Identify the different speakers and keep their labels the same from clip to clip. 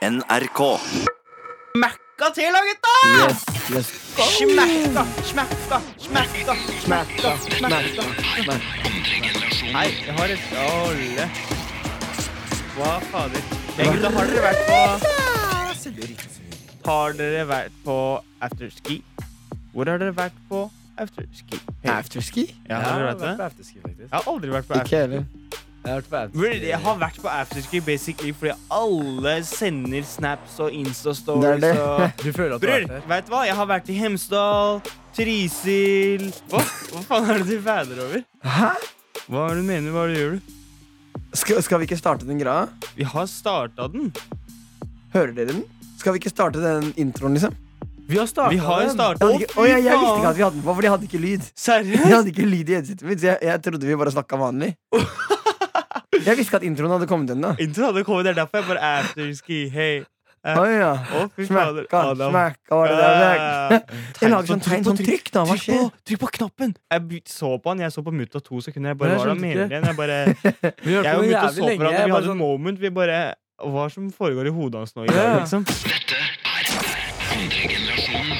Speaker 1: NRK.
Speaker 2: Smekka til da, gutta!
Speaker 3: Yes, yes.
Speaker 2: Smekka, smekka, smekka, smekka, smekka. Nei, jeg har et Alle. Hva fader? Jeg, gutta, har dere vært på Har dere vært på afterski? Hvor har dere vært på afterski? Hey.
Speaker 3: Afterski?
Speaker 2: Ja, har dere vært det?
Speaker 4: afterski, faktisk.
Speaker 2: Jeg har aldri vært på
Speaker 3: Ikke
Speaker 2: afterski.
Speaker 3: heller.
Speaker 4: Jeg har vært på
Speaker 2: Bro,
Speaker 4: afterski.
Speaker 2: Jeg har vært på afterski basically fordi alle sender snaps og
Speaker 3: Det er
Speaker 2: Insta-stories
Speaker 3: det.
Speaker 2: og
Speaker 4: Du føler at du har
Speaker 2: Bror,
Speaker 4: vært der?
Speaker 2: vet du hva? Jeg har vært i Hemsedal, Trysil Hva, hva faen er det du fader over?
Speaker 3: Hæ?
Speaker 2: Hva er det du mener? Hva er det du gjør du?
Speaker 3: Skal, skal vi ikke starte den greia?
Speaker 2: Vi har starta den.
Speaker 3: Hører dere den? Skal vi ikke starte den introen, liksom?
Speaker 4: Vi har starta
Speaker 2: Vi har jo
Speaker 3: Jeg,
Speaker 2: starta
Speaker 3: hadde ikke, Å, jeg, jeg visste ikke at vi hadde den på, for de hadde ikke lyd. De
Speaker 2: Seriøst?
Speaker 3: hadde ikke lyd i headsetet mitt, så jeg, jeg trodde vi bare snakka vanlig. Jeg visste ikke at introen hadde kommet ennå.
Speaker 2: Introen hadde kommet, det er derfor jeg bare afterski. Hei.
Speaker 3: Å ja.
Speaker 2: Å, fy fader.
Speaker 3: Smekka,
Speaker 2: Adam.
Speaker 3: smekka var det der.
Speaker 2: Ah.
Speaker 3: Jeg lager sånn tegn,
Speaker 2: på
Speaker 3: sånn trykk, da. Hva
Speaker 2: Trykk på,
Speaker 3: skjer?
Speaker 2: trykk på knappen! Jeg by- så på han, jeg så på mutta to sekunder. Jeg bare,
Speaker 4: Men jeg
Speaker 2: hva er det han
Speaker 4: skjønte
Speaker 2: mener
Speaker 4: ikke.
Speaker 2: igjen? Jeg bare,
Speaker 4: Vi har
Speaker 2: jeg
Speaker 4: vært
Speaker 2: og
Speaker 4: på
Speaker 2: mutta så
Speaker 4: jævlig
Speaker 2: på
Speaker 4: lenge.
Speaker 2: hverandre,
Speaker 4: Jeg
Speaker 2: vi
Speaker 4: bare
Speaker 2: hadde
Speaker 4: sånn,
Speaker 2: en moment. Vi bare Hva er det som foregår i hodet hans nå? i dag,
Speaker 4: Ja.
Speaker 2: liksom? sånn-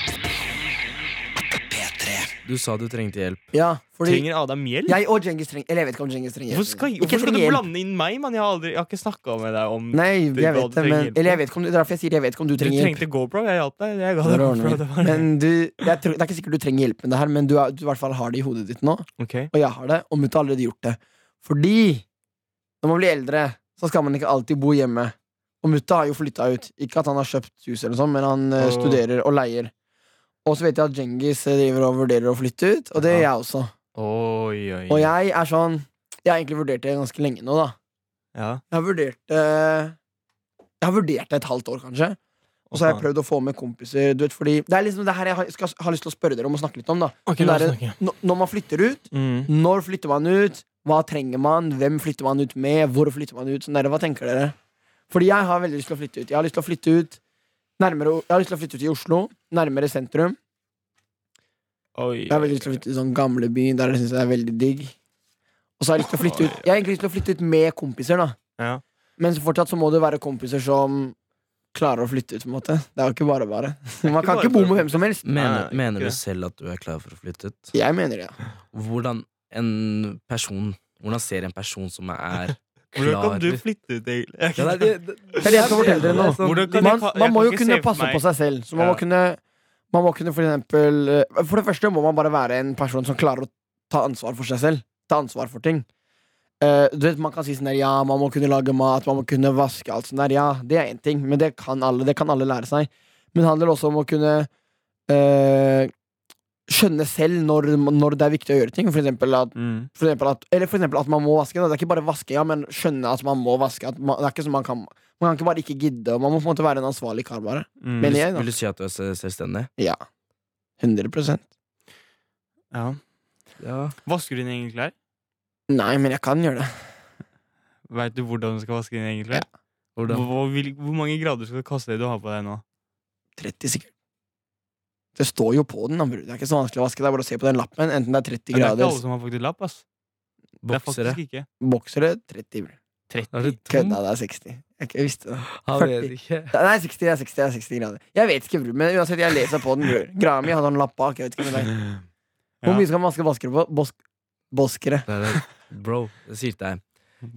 Speaker 4: du sa du trengte hjelp.
Speaker 3: Ja, fordi
Speaker 2: Trenger Adam hjelp?
Speaker 3: jeg og Djengis trenger Eller jeg vet ikke om Djengis trenger
Speaker 2: Hvorfor skal,
Speaker 3: Ikke
Speaker 2: hvorfor skal du
Speaker 3: trenger hjelp.
Speaker 2: blande inn meg, mann? Jeg har, aldri, jeg har ikke snakka med deg om
Speaker 3: Nei,
Speaker 2: Du
Speaker 3: jeg
Speaker 2: ga
Speaker 3: vet
Speaker 2: det
Speaker 3: det, men
Speaker 2: hjelp.
Speaker 3: Eller jeg vet ikke om du, det er derfor jeg sier jeg vet ikke om du
Speaker 2: Du
Speaker 3: trenger hjelp.
Speaker 2: trengte GoPro, jeg hjalp deg. Jeg ga
Speaker 3: Det
Speaker 2: deg
Speaker 3: er
Speaker 2: GoPro.
Speaker 3: ordentlig.
Speaker 2: Det var
Speaker 3: Men du, jeg tror, det er ikke sikkert du trenger hjelp med det her, men du, er, du i hvert fall har det i hodet ditt nå.
Speaker 2: Ok.
Speaker 3: Og jeg har det, og mutta har allerede gjort det. Fordi når man blir eldre, så skal man ikke alltid bo hjemme. Og mutta har jo flytta ut. Ikke at han har kjøpt hus, eller noe sånt, men han eh,
Speaker 2: Åh.
Speaker 3: studerer og leier. Og så vet jeg at Djengis eh, driver og vurderer å flytte ut, og det gjør
Speaker 4: Ja.
Speaker 3: jeg også.
Speaker 4: Oi, oi.
Speaker 3: Og jeg er sånn Jeg har egentlig vurdert det ganske lenge nå, da.
Speaker 2: Ja.
Speaker 3: Jeg har vurdert eh, Jeg har vurdert det et halvt år, kanskje. Og så har jeg prøvd å få med kompiser. Du vet, fordi det er liksom det her jeg har, skal, har lyst til å spørre dere om og snakke litt om. da
Speaker 4: Ok,
Speaker 3: la
Speaker 4: la
Speaker 3: oss
Speaker 4: oss snakke.
Speaker 3: N Når man flytter ut,
Speaker 2: Mm.
Speaker 3: når flytter man ut, hva trenger man, hvem flytter man ut med, hvor flytter man ut? Sånn der, hva tenker dere? Fordi jeg har veldig lyst til å flytte ut. Jeg har lyst til å flytte ut nærmere, jeg har lyst til å flytte ut i Oslo, nærmere sentrum.
Speaker 2: Oi.
Speaker 3: Jeg har veldig lyst til å flytte ut i sånn gamleby, der jeg syns det er veldig digg. Og så har jeg lyst til å flytte ut Jeg har egentlig lyst til å flytte ut med kompiser, da.
Speaker 2: Ja.
Speaker 3: Men så fortsatt så må det være kompiser som klarer å flytte ut, på en måte. Det er jo ikke bare bare. Man kan
Speaker 2: bare
Speaker 3: ikke bo
Speaker 2: bare.
Speaker 3: med hvem som helst.
Speaker 2: Nei,
Speaker 5: Mener,
Speaker 2: ikke
Speaker 5: mener du
Speaker 2: det.
Speaker 5: selv at du er klar for å flytte ut?
Speaker 3: Jeg mener det. ja.
Speaker 5: Hvordan en person Hvordan ser en person som er
Speaker 2: Hvordan
Speaker 5: klar
Speaker 2: kan du flytte ut, egentlig?
Speaker 4: Ja, nei, det- det-
Speaker 3: Det er det jeg skal fortelle dere nå.
Speaker 2: Hvordan kan
Speaker 3: man,
Speaker 2: jeg,
Speaker 3: man må jo kunne passe på seg selv. Så man
Speaker 2: Ja.
Speaker 3: må kunne, man må kunne for eksempel eh, For det første må man bare være en person som klarer å ta ansvar for seg selv. Ta ansvar for ting. Eh, du vet, Man kan si sånn der ja, man må kunne lage mat, man må kunne vaske alt sånn der. Ja, det er én ting, men det kan alle. Det kan alle lære seg. Men det handler også om å kunne eh, skjønne selv når, når det er viktig å gjøre ting. For eksempel at
Speaker 2: Mm.
Speaker 3: for eksempel at, eller for eksempel at man må vaske. Da. Det er ikke bare vaske, ja, men skjønne at man må vaske. At man, det er ikke som man, kan, man kan ikke bare ikke gidde. og Man må på en måte være en ansvarlig kar, bare.
Speaker 2: Mm.
Speaker 3: Men
Speaker 5: Vil,
Speaker 3: jeg, da.
Speaker 5: vil du si at du er se- selvstendig?
Speaker 3: Ja. 100
Speaker 2: ja. Vasker du dine egne klær?
Speaker 3: Nei, men jeg kan gjøre det.
Speaker 2: Veit du hvordan du skal vaske dine egne klær?
Speaker 5: Hvordan?
Speaker 2: Hvor, hvor, vil- hvor mange grader skal du kaste det du har på deg nå?
Speaker 3: 30 sikkert. Det står jo på den. da, bror. Det er ikke så vanskelig å vaske. Det er bare å se på den lappen. Enten det er
Speaker 2: Men
Speaker 3: 30
Speaker 2: det er ikke
Speaker 3: grader
Speaker 2: alle som har faktisk lapp, ass. Det er
Speaker 5: Boksere?
Speaker 2: faktisk ikke.
Speaker 3: boksere, 30 bror.
Speaker 5: Er
Speaker 2: Mm.
Speaker 5: du tom?
Speaker 3: Kødda, det er 60. Jeg ikke visste det.
Speaker 4: Han vet
Speaker 3: 40.
Speaker 4: ikke.
Speaker 3: Nei, 60, det er 60, det er 60 grader. Jeg vet ikke, bror, men uansett, jeg leser på den. bror. Greia mi hadde en lapp bak. Jeg vet ikke om det er. Hvor
Speaker 2: Ja.
Speaker 3: mye skal man vaske boskere på? Bosk boskere.
Speaker 5: Det er det. Bro, jeg sier til deg.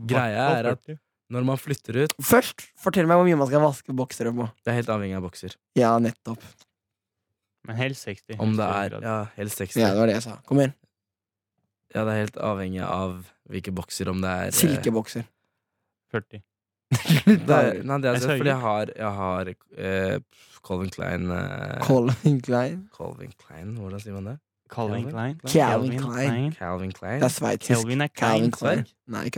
Speaker 5: Greia
Speaker 2: Hvertfall
Speaker 5: er at-
Speaker 2: 40.
Speaker 5: Når man flytter ut,
Speaker 3: Først, fortell meg hvor mye man skal vaske boksere på.
Speaker 5: det er helt avhengig av bokser.
Speaker 3: Ja, nettopp.
Speaker 2: Men helst 60.
Speaker 5: Om det
Speaker 2: helst
Speaker 5: er
Speaker 2: 60 grader.
Speaker 5: ja, helst 60.
Speaker 3: Ja, det var det jeg sa. Kom igjen.
Speaker 5: Ja, det er helt avhengig av hvilke bokser. Om det er eh,
Speaker 3: Silkebokser.
Speaker 2: 40.
Speaker 5: Det er, nei, det
Speaker 2: Jeg
Speaker 5: er altså,
Speaker 2: sverger.
Speaker 5: fordi jeg har, jeg har eh, Calvin Klein eh,
Speaker 3: Colin Klein.
Speaker 5: Calvin Klein, hvordan sier man det?
Speaker 2: Calvin
Speaker 5: Calvin
Speaker 2: Klein.
Speaker 3: Calvin Klein.
Speaker 2: Mm.
Speaker 5: Calvin Klein?
Speaker 3: Det er sveitsisk.
Speaker 2: Calvin er
Speaker 3: Calvin
Speaker 2: Klein.
Speaker 3: Klein.
Speaker 5: Klein.
Speaker 3: Nei,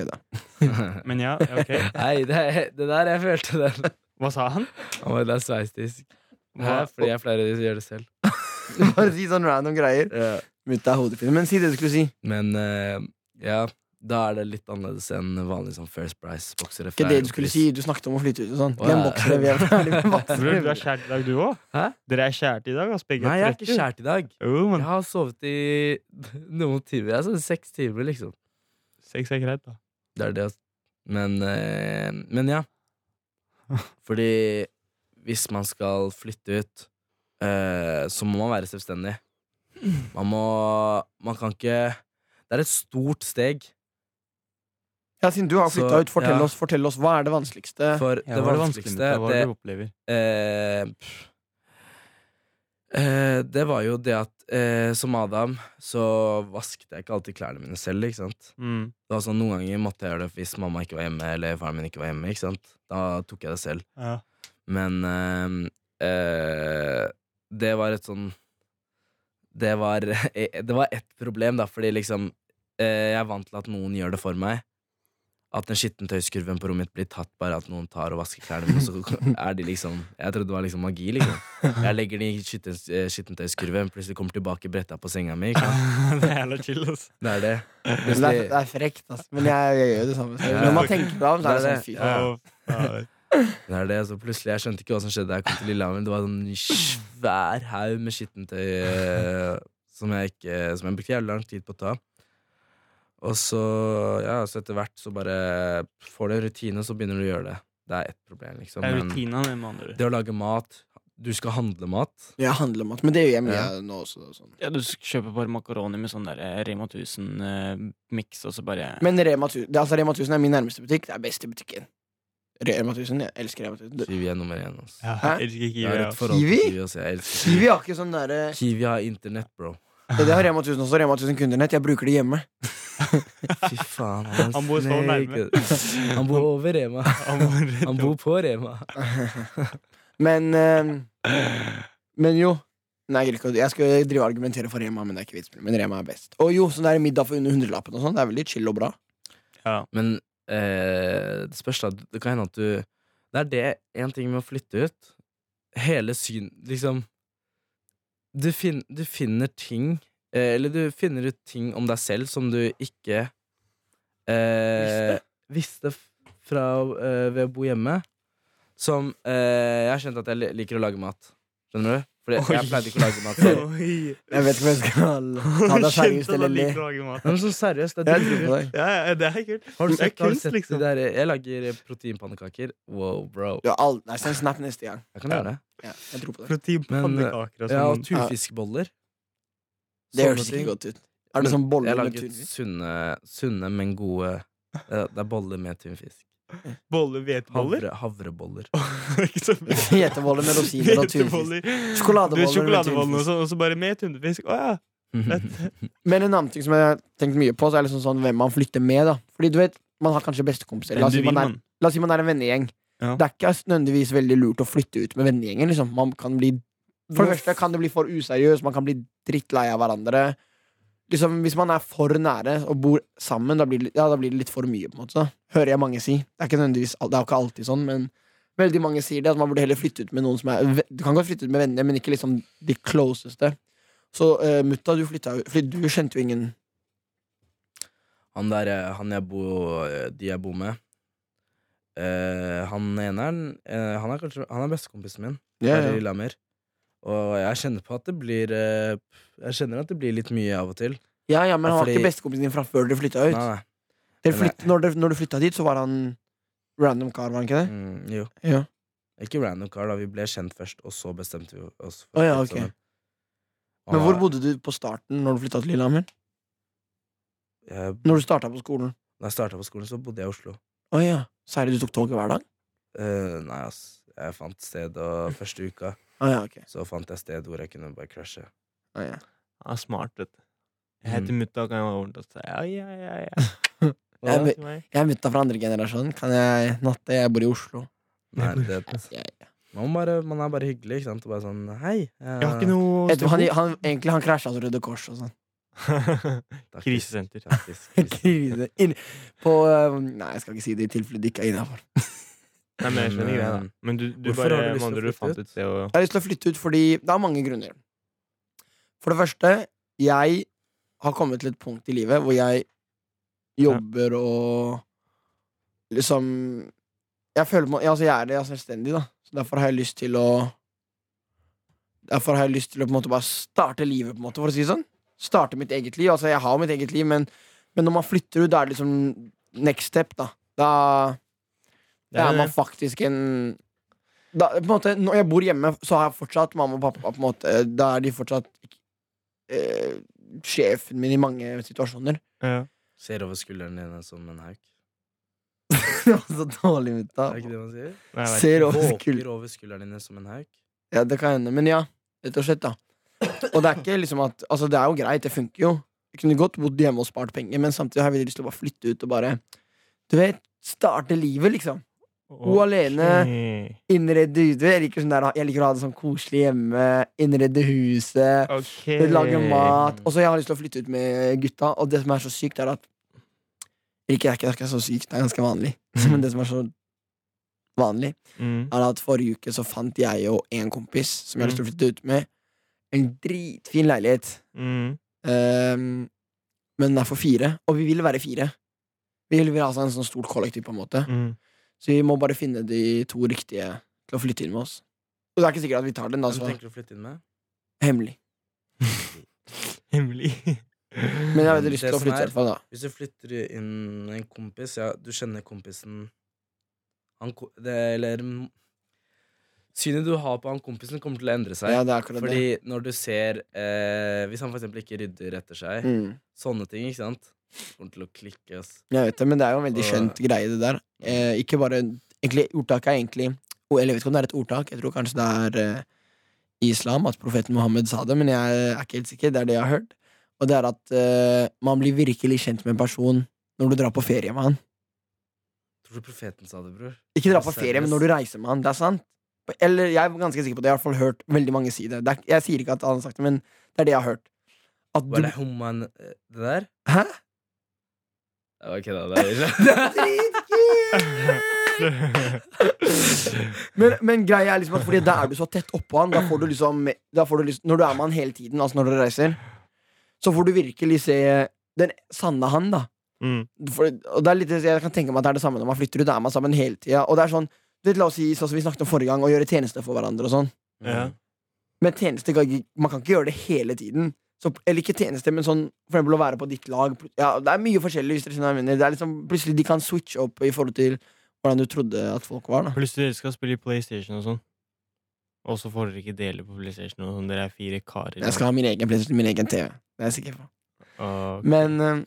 Speaker 3: kødda.
Speaker 2: Men ja, ok.
Speaker 5: Nei, det, er- det der jeg følte den.
Speaker 2: Hva sa han?
Speaker 5: Han var- Det er sveistisk.
Speaker 2: Hva?
Speaker 5: Hæ? Fordi jeg pleier å gjøre det selv.
Speaker 3: Bare si sånn random greier. Mutta er hodepine. Men si det du skulle si.
Speaker 5: Men eh, ja, da er det litt annerledes enn vanlig sånn First Price-boksere.
Speaker 3: Ikke det du skulle si. Du snakket om å flytte ut og sånn.
Speaker 5: Å,
Speaker 3: Glem
Speaker 5: ja.
Speaker 3: boksere. Vi er ferdig med
Speaker 2: Bror, du er
Speaker 3: boksere.
Speaker 2: kjært i dag, du òg?
Speaker 5: Hæ?
Speaker 2: Dere er kjært i dag, ass. Begge
Speaker 5: Nei, jeg er ikke
Speaker 2: 30.
Speaker 5: skjært i dag.
Speaker 2: Jo,
Speaker 5: Jeg
Speaker 2: men
Speaker 5: har sovet i noen timer. Jeg har sovet seks timer, liksom.
Speaker 2: sex er greit, da.
Speaker 5: Det er det, altså. Men, eh, men ja. Fordi hvis man skal flytte ut, eh, så må man være selvstendig. Man må Man kan ikke Det er et stort steg,
Speaker 3: Ja, siden du har
Speaker 5: Så,
Speaker 3: flytta ut, fortell,
Speaker 5: ja.
Speaker 3: oss, fortell oss hva er det vanskeligste.
Speaker 5: for det vanskeligste
Speaker 4: Hva er
Speaker 5: det,
Speaker 4: det du opplever?
Speaker 5: eh, pff. eh, Det var jo det at eh, som Adam så vasket jeg ikke alltid klærne mine selv, ikke sant.
Speaker 4: Mm.
Speaker 5: Det var sånn, Noen ganger måtte jeg gjøre det hvis mamma ikke var hjemme, eller faren min ikke var hjemme. ikke sant? Da tok jeg det selv.
Speaker 2: Ja.
Speaker 5: Men eh, eh, det var et sånn Det var, eh, det var ett problem, da, fordi liksom eh, jeg er vant til at noen gjør det for meg. At den skittentøyskurven på rommet mitt blir tatt bare at noen tar og vasker klærne mine. Så er de liksom Jeg trodde det var liksom magi, liksom. Jeg legger den i skitten- eh, skittentøyskurven, plutselig kommer tilbake bretta på senga mi. Ikke sant?
Speaker 2: det er jævla chill, altså.
Speaker 5: Det er det.
Speaker 3: Det er, det er frekt, altså. men jeg, jeg gjør jo det samme.
Speaker 5: Ja.
Speaker 3: Når man tenker på det, så er det
Speaker 5: Det er
Speaker 3: sånn fy
Speaker 5: Ja.
Speaker 2: Å, fader.
Speaker 5: Det er det, så plutselig Jeg skjønte ikke hva som skjedde da jeg kom til Lillehammer. Det var en svær haug med skittentøy eh, som jeg, ikke, som jeg brukte jævlig lang tid på å ta. Og så, ja, så etter hvert så bare får du en rutine, så begynner du å gjøre det. Det er ett problem, liksom.
Speaker 2: Det er
Speaker 5: Men
Speaker 2: rutina, det, med andre ord.
Speaker 5: det å lage mat Du skal handle mat.
Speaker 3: Jeg handler mat, men det gjør jeg mye
Speaker 5: Ja.
Speaker 3: nå også. og Sånn.
Speaker 2: Ja, du sk- kjøper bare makaroni med sånn der eh, Rema 1000-miks, og så bare
Speaker 3: Men Rema 1000, det, er altså Rema 1000 er min nærmeste butikk. Det er best i butikken. Rema 1000, Jeg elsker Rema 1000. Det-
Speaker 5: Kiwi er nummer én. Altså.
Speaker 2: ja,
Speaker 3: Hæ?
Speaker 2: jeg elsker
Speaker 5: Jeg
Speaker 2: kiwi,
Speaker 5: har
Speaker 2: ja.
Speaker 5: et forhold til
Speaker 3: Kiwi?
Speaker 5: Kiwi. Altså. Jeg elsker
Speaker 3: Kiwi har ikke sånn derre
Speaker 5: Kiwi har internett, bro.
Speaker 3: Det har Rema 1000 også. Rema 1000 kundernett. Jeg bruker det hjemme.
Speaker 5: Fy faen. Han, er en
Speaker 2: Han bor så
Speaker 5: snek. Han bor over Rema.
Speaker 2: Han bor-
Speaker 5: Han bor på Rema.
Speaker 3: Men eh, Men jo. Nei, jeg, gidder ikke å- jeg skal drive og argumentere for Rema, men det er ikke vits. Men Rema er best. Og jo, sånn der middag for under hundrelappen og sånn. Det er veldig chill og bra.
Speaker 5: Men eh, det spørs da Det kan hende at du Det er det en ting med å flytte ut Hele syn Liksom Du, fin, du finner ting eh, Eller du finner ut ting om deg selv Som du ikke eh, Visste f- fra, eh, Ved å bo hjemme Som eh, Jeg har skjønt at jeg li- liker å lage mat Skjønner du? Fordi jeg pleide ikke å lage mat selv.
Speaker 2: Oi.
Speaker 3: Jeg vet ikke om jeg skal ta deg seriøst
Speaker 2: Kjente sånn at
Speaker 3: eller
Speaker 2: han
Speaker 3: le.
Speaker 2: liker å lage mat.
Speaker 5: Nei, men så seriøst det er
Speaker 3: Jeg tror
Speaker 5: dritkult.
Speaker 3: på deg.
Speaker 2: Ja, ja, det er kult.
Speaker 5: Har du
Speaker 2: Det er
Speaker 5: sett, har du
Speaker 2: kunst,
Speaker 5: sett
Speaker 2: liksom.
Speaker 5: de der Jeg lager proteinpannekaker Wow bro
Speaker 3: Du har aldri- Nei, send snap neste gang.
Speaker 5: Jeg kan gjøre det
Speaker 3: Ja, jeg tror på deg. eh,
Speaker 2: Proteinpannekaker og
Speaker 5: Ja, og
Speaker 2: sånn.
Speaker 5: turfiskboller.
Speaker 3: Det
Speaker 5: Sånne
Speaker 3: høres
Speaker 5: ting.
Speaker 3: ikke godt ut. Er det sånn boller
Speaker 5: Jeg
Speaker 3: med
Speaker 5: lager
Speaker 3: tunfisk?
Speaker 5: sunne, sunne, men gode eh, Det er boller med tunfisk.
Speaker 2: Boller, hveteboller?
Speaker 5: Havre, havreboller.
Speaker 2: Ikke så mye.
Speaker 3: Hveteboller med rosiner og tunfisk.
Speaker 2: Hveteboller. Du,
Speaker 3: Sjokoladeboller med
Speaker 2: Sjokoladeboller
Speaker 3: tunfisk.
Speaker 2: og sånn, og så bare med tunfisk. Å ja.
Speaker 3: Men en annen ting som jeg har tenkt mye på, Så er liksom sånn hvem man flytter med. da Fordi du vet, Man har kanskje bestekompiser. La oss si man er, la oss si man er en vennegjeng.
Speaker 2: Ja.
Speaker 3: Det er ikke nødvendigvis veldig lurt å flytte ut med vennegjengen. Liksom. Man kan bli For det første kan det bli for useriøst, man kan bli drittlei av hverandre. Liksom, hvis man er for nære og bor sammen, da blir, det- ja, da blir det litt for mye. på en måte Hører jeg mange si. Det er ikke nødvendigvis al- Det er jo ikke alltid sånn, men veldig mange sier det. At man burde heller flytte ut med noen som er ve- Du kan godt flytte ut med venner, men ikke liksom de closeste. Så eh, mutta, du flytta jo Fordi du kjente jo ingen
Speaker 5: Han der eh, han jeg bo, eh, de jeg bor med eh, Han ene er, den- eh, han er kanskje Han er bestekompisen min.
Speaker 3: Ja,
Speaker 5: her i
Speaker 3: ja.
Speaker 5: Lillehammer. Og jeg kjenner på at det blir eh, Jeg kjenner at det blir litt mye av og til.
Speaker 3: ja, ja, men han var
Speaker 5: Fordi-
Speaker 3: ikke bestekompisen din fra før dere flytta ut.
Speaker 5: Nei, nei.
Speaker 3: Dere flytt, når, dere, når du flytta dit, så var han random kar, var han ikke det?
Speaker 5: Mm, jo.
Speaker 3: Ja.
Speaker 5: Ikke random car, da. Vi ble kjent først, og så bestemte vi oss. for
Speaker 3: Å ja,
Speaker 5: å
Speaker 3: ok.
Speaker 5: flytte sammen.
Speaker 3: Men
Speaker 5: Og
Speaker 3: hvor bodde du på starten når du flytta til Lillehammer?
Speaker 5: jeg-
Speaker 3: Når du starta på skolen?
Speaker 5: Da Eh, jeg starta på skolen, så bodde jeg i Oslo.
Speaker 3: Å ja. Særlig du tok toget hver dag?
Speaker 5: Eh, nei, ass. Jeg fant sted, og første uka
Speaker 3: Å ja, ok.
Speaker 5: så fant jeg sted hvor jeg kunne bare crashe.
Speaker 3: Å, ja.
Speaker 2: Ja, smart, vet du. Jeg
Speaker 3: Mm.
Speaker 2: heter mutta, kan jeg være ordentlig og si ja, ja, ja, ja.
Speaker 3: Jeg,
Speaker 2: Hva
Speaker 3: er
Speaker 2: da
Speaker 3: mu-
Speaker 2: til meg?
Speaker 3: jeg er mutta fra andre generasjon. Kan jeg natte? Jeg bor i Oslo.
Speaker 5: Nei, det,
Speaker 3: Ja,
Speaker 5: man, må bare, man er bare hyggelig, ikke sant? Og bare sånn Hei. eh,
Speaker 2: Jeg har ikke noe å
Speaker 3: Jeg tror han,
Speaker 2: stå
Speaker 3: han, egentlig han krasja hos Røde Kors og sånn.
Speaker 2: på.
Speaker 5: taktisk,
Speaker 2: Krisesenter.
Speaker 5: taktisk, krise.
Speaker 3: Krise. Inn- På øh, Nei, jeg skal ikke si det i tilfelle det ikke er innafor.
Speaker 2: Nei, men jeg skjønner
Speaker 5: Men,
Speaker 2: greia,
Speaker 5: eh,
Speaker 2: da. Men du, du
Speaker 5: hvorfor
Speaker 2: bare
Speaker 5: har du lyst til
Speaker 2: med andre
Speaker 5: å
Speaker 2: ord,
Speaker 5: flytte
Speaker 2: fant ut det og
Speaker 3: Jeg har lyst til å flytte ut fordi det er mange grunner. For det første, jeg har kommet til et punkt i livet hvor jeg jobber og liksom Jeg føler meg altså Jeg er det, jeg er selvstendig, da. Så derfor har jeg lyst til å Derfor har jeg lyst til å på en måte bare starte livet, på en måte, for å si det sånn. Starte mitt eget liv. Altså, jeg har mitt eget liv, men, men når man flytter ut, da er det liksom next step, da. Da,
Speaker 2: Det
Speaker 3: da
Speaker 2: er
Speaker 3: er
Speaker 2: det.
Speaker 3: man faktisk en da, på en måte, Når jeg bor hjemme, så har jeg fortsatt mamma og pappa. på en måte eh, Da er de fortsatt eh, sjefen min i mange situasjoner.
Speaker 5: Ser over skulderen din som en hauk.
Speaker 3: så dårlig ut, da.
Speaker 5: Er ikke det man sier?
Speaker 2: Nei, jeg vet
Speaker 3: Ser over skulderen.
Speaker 5: Våker over skulderen din som en hauk.
Speaker 3: Ja, det kan hende. Men ja, rett og slett, da. Og det er ikke liksom at Altså, det er jo greit, det funker jo. Jeg kunne godt bodd hjemme og spart penger, men samtidig har jeg veldig lyst til å bare flytte ut og bare Du vet, starte livet, liksom.
Speaker 2: ikke.
Speaker 3: Hun alene,
Speaker 2: Ok.
Speaker 3: innrede ute. Jeg liker, sånn der, jeg liker å ha det sånn koselig hjemme, innrede huset,
Speaker 2: Ok.
Speaker 3: lage mat. Og så jeg har lyst til å flytte ut med gutta, og det som er så sykt, er at Ikke det er ikke, det er ikke så sykt, det er ganske vanlig, men det som er så vanlig,
Speaker 2: Mm.
Speaker 3: er at forrige uke så fant jeg og en kompis som jeg
Speaker 5: Mm.
Speaker 3: har lyst til å flytte ut med, en dritfin leilighet.
Speaker 2: Mm.
Speaker 3: Ehm, men den er for fire, og vi vil være fire. Vi vil være altså en sånn stort kollektiv, på en måte.
Speaker 2: Mm.
Speaker 3: Så vi må bare finne de to riktige til å flytte inn med oss. Og det er ikke sikkert at vi tar den, da,
Speaker 5: Hvem
Speaker 2: Altså-
Speaker 3: så
Speaker 5: tenker du å flytte inn med?
Speaker 3: hemmelig.
Speaker 2: Hemmelig.
Speaker 3: Men jeg har veldig lyst
Speaker 5: Det
Speaker 3: til å
Speaker 5: som
Speaker 3: flytte, i
Speaker 5: er-
Speaker 3: hvert fall, da.
Speaker 5: Hvis du flytter inn en kompis ja, Du kjenner kompisen han, ko- det, Eller mm, Synet du har på han kompisen kommer til å endre seg
Speaker 3: Ja, det er akkurat
Speaker 5: Fordi når du ser eh, Hvis han for eksempel ikke rydder etter
Speaker 3: det.
Speaker 5: seg
Speaker 3: Mm.
Speaker 5: Sånne ting, ikke sant? Kommer til å klikke ass.
Speaker 3: Jeg vet det, men det er jo en veldig
Speaker 5: Og-
Speaker 3: skjønt greie, det der. Eh, ikke bare egentlig, Ordtaket er egentlig o- Eller jeg vet ikke om det er et ordtak, jeg tror kanskje det er eh, i islam at profeten Mohammed sa det, men jeg er ikke helt sikker. Det er det jeg har hørt. Og det er at eh, man blir virkelig kjent med en person når du drar på ferie med han.
Speaker 5: Tror du profeten sa det, bror?
Speaker 3: Ikke dra på
Speaker 5: Seriøst?
Speaker 3: ferie, men når du reiser med han. Det er sant. Eller jeg er ganske sikker på det. Jeg har i hvert fall hørt veldig mange si det. det er, jeg sier ikke at han har sagt det, men det er det jeg har hørt. At du
Speaker 5: Var det humman eh, Det der?
Speaker 3: Hæ?
Speaker 5: Det var ikke det der
Speaker 3: Men, men greia er liksom at fordi da er du så tett oppå han. Da får du liksom, da får du liksom Når du er med han hele tiden, altså når du reiser, så får du virkelig se den sanne han, da.
Speaker 2: Mm.
Speaker 3: For, og det er litt, jeg kan tenke meg at det er det samme når man flytter ut. Da er man sammen hele tida. Og det er sånn, du vet, la oss si sånn som vi snakket om forrige gang, å gjøre tjeneste for hverandre og sånn.
Speaker 2: Ja.
Speaker 3: Men tjeneste kan ikke- Man kan ikke gjøre det hele tiden. Så, eller ikke tjeneste, men sånn for eksempel å være på ditt lag. Pl- Ja, det er mye forskjellig. Hvis dere skjønner hva jeg mener. Det er liksom, plutselig de kan switche opp i forhold til hvordan du trodde at folk var. Da.
Speaker 2: Plutselig dere skal spille PlayStation og sånn. Og så får dere ikke dele på PlayStation og sånn. Dere er fire karer.
Speaker 3: Jeg skal ha min egen PlayStation, min egen TV. Det er jeg sikker på.
Speaker 2: Og-
Speaker 3: Men, eh,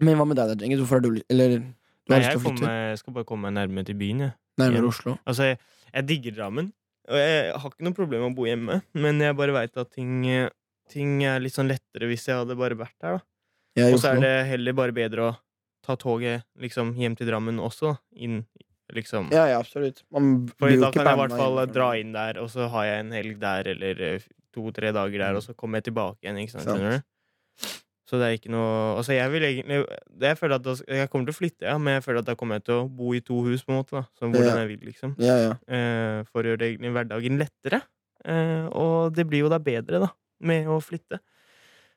Speaker 3: men hva med deg, da, Djengis? Hvorfor har du, ly- eller, du har
Speaker 2: Nei,
Speaker 3: lyst
Speaker 2: jeg,
Speaker 3: til å flytte
Speaker 2: kommer, jeg skal bare komme meg nærmere til byen, jeg.
Speaker 3: nærmere
Speaker 2: hjem.
Speaker 3: Oslo?
Speaker 2: Altså, jeg, jeg digger Drammen. Og jeg har ikke noe problem med å bo hjemme, men jeg bare veit at ting, eh, ting er litt sånn lettere hvis jeg hadde bare vært her, da.
Speaker 3: Jeg er i
Speaker 2: Og så er
Speaker 3: Oslo.
Speaker 2: det heller bare bedre å ta toget liksom hjem til Drammen også, inn liksom.
Speaker 3: Ja, ja, absolutt. Man
Speaker 2: For
Speaker 3: blir jo
Speaker 2: da
Speaker 3: ikke
Speaker 2: kan jeg i
Speaker 3: banna
Speaker 2: hvert fall
Speaker 3: hjemmefra.
Speaker 2: dra inn der, og så har jeg en helg der, eller eh, to-tre dager der, og så kommer jeg tilbake igjen, ikke sant?
Speaker 3: Mm. Sant.
Speaker 2: Skjønner du? Så det er ikke noe Altså, jeg vil egentlig det Jeg føler at da, jeg kommer til å flytte, ja, men jeg føler at da kommer jeg til å bo i to hus, på en måte, da. Sånn hvordan
Speaker 3: Ja.
Speaker 2: jeg vil, liksom.
Speaker 3: Ja, ja.
Speaker 2: Eh, for å gjøre det egentlig hverdagen lettere. Eh, og det blir jo da bedre, da, med å flytte.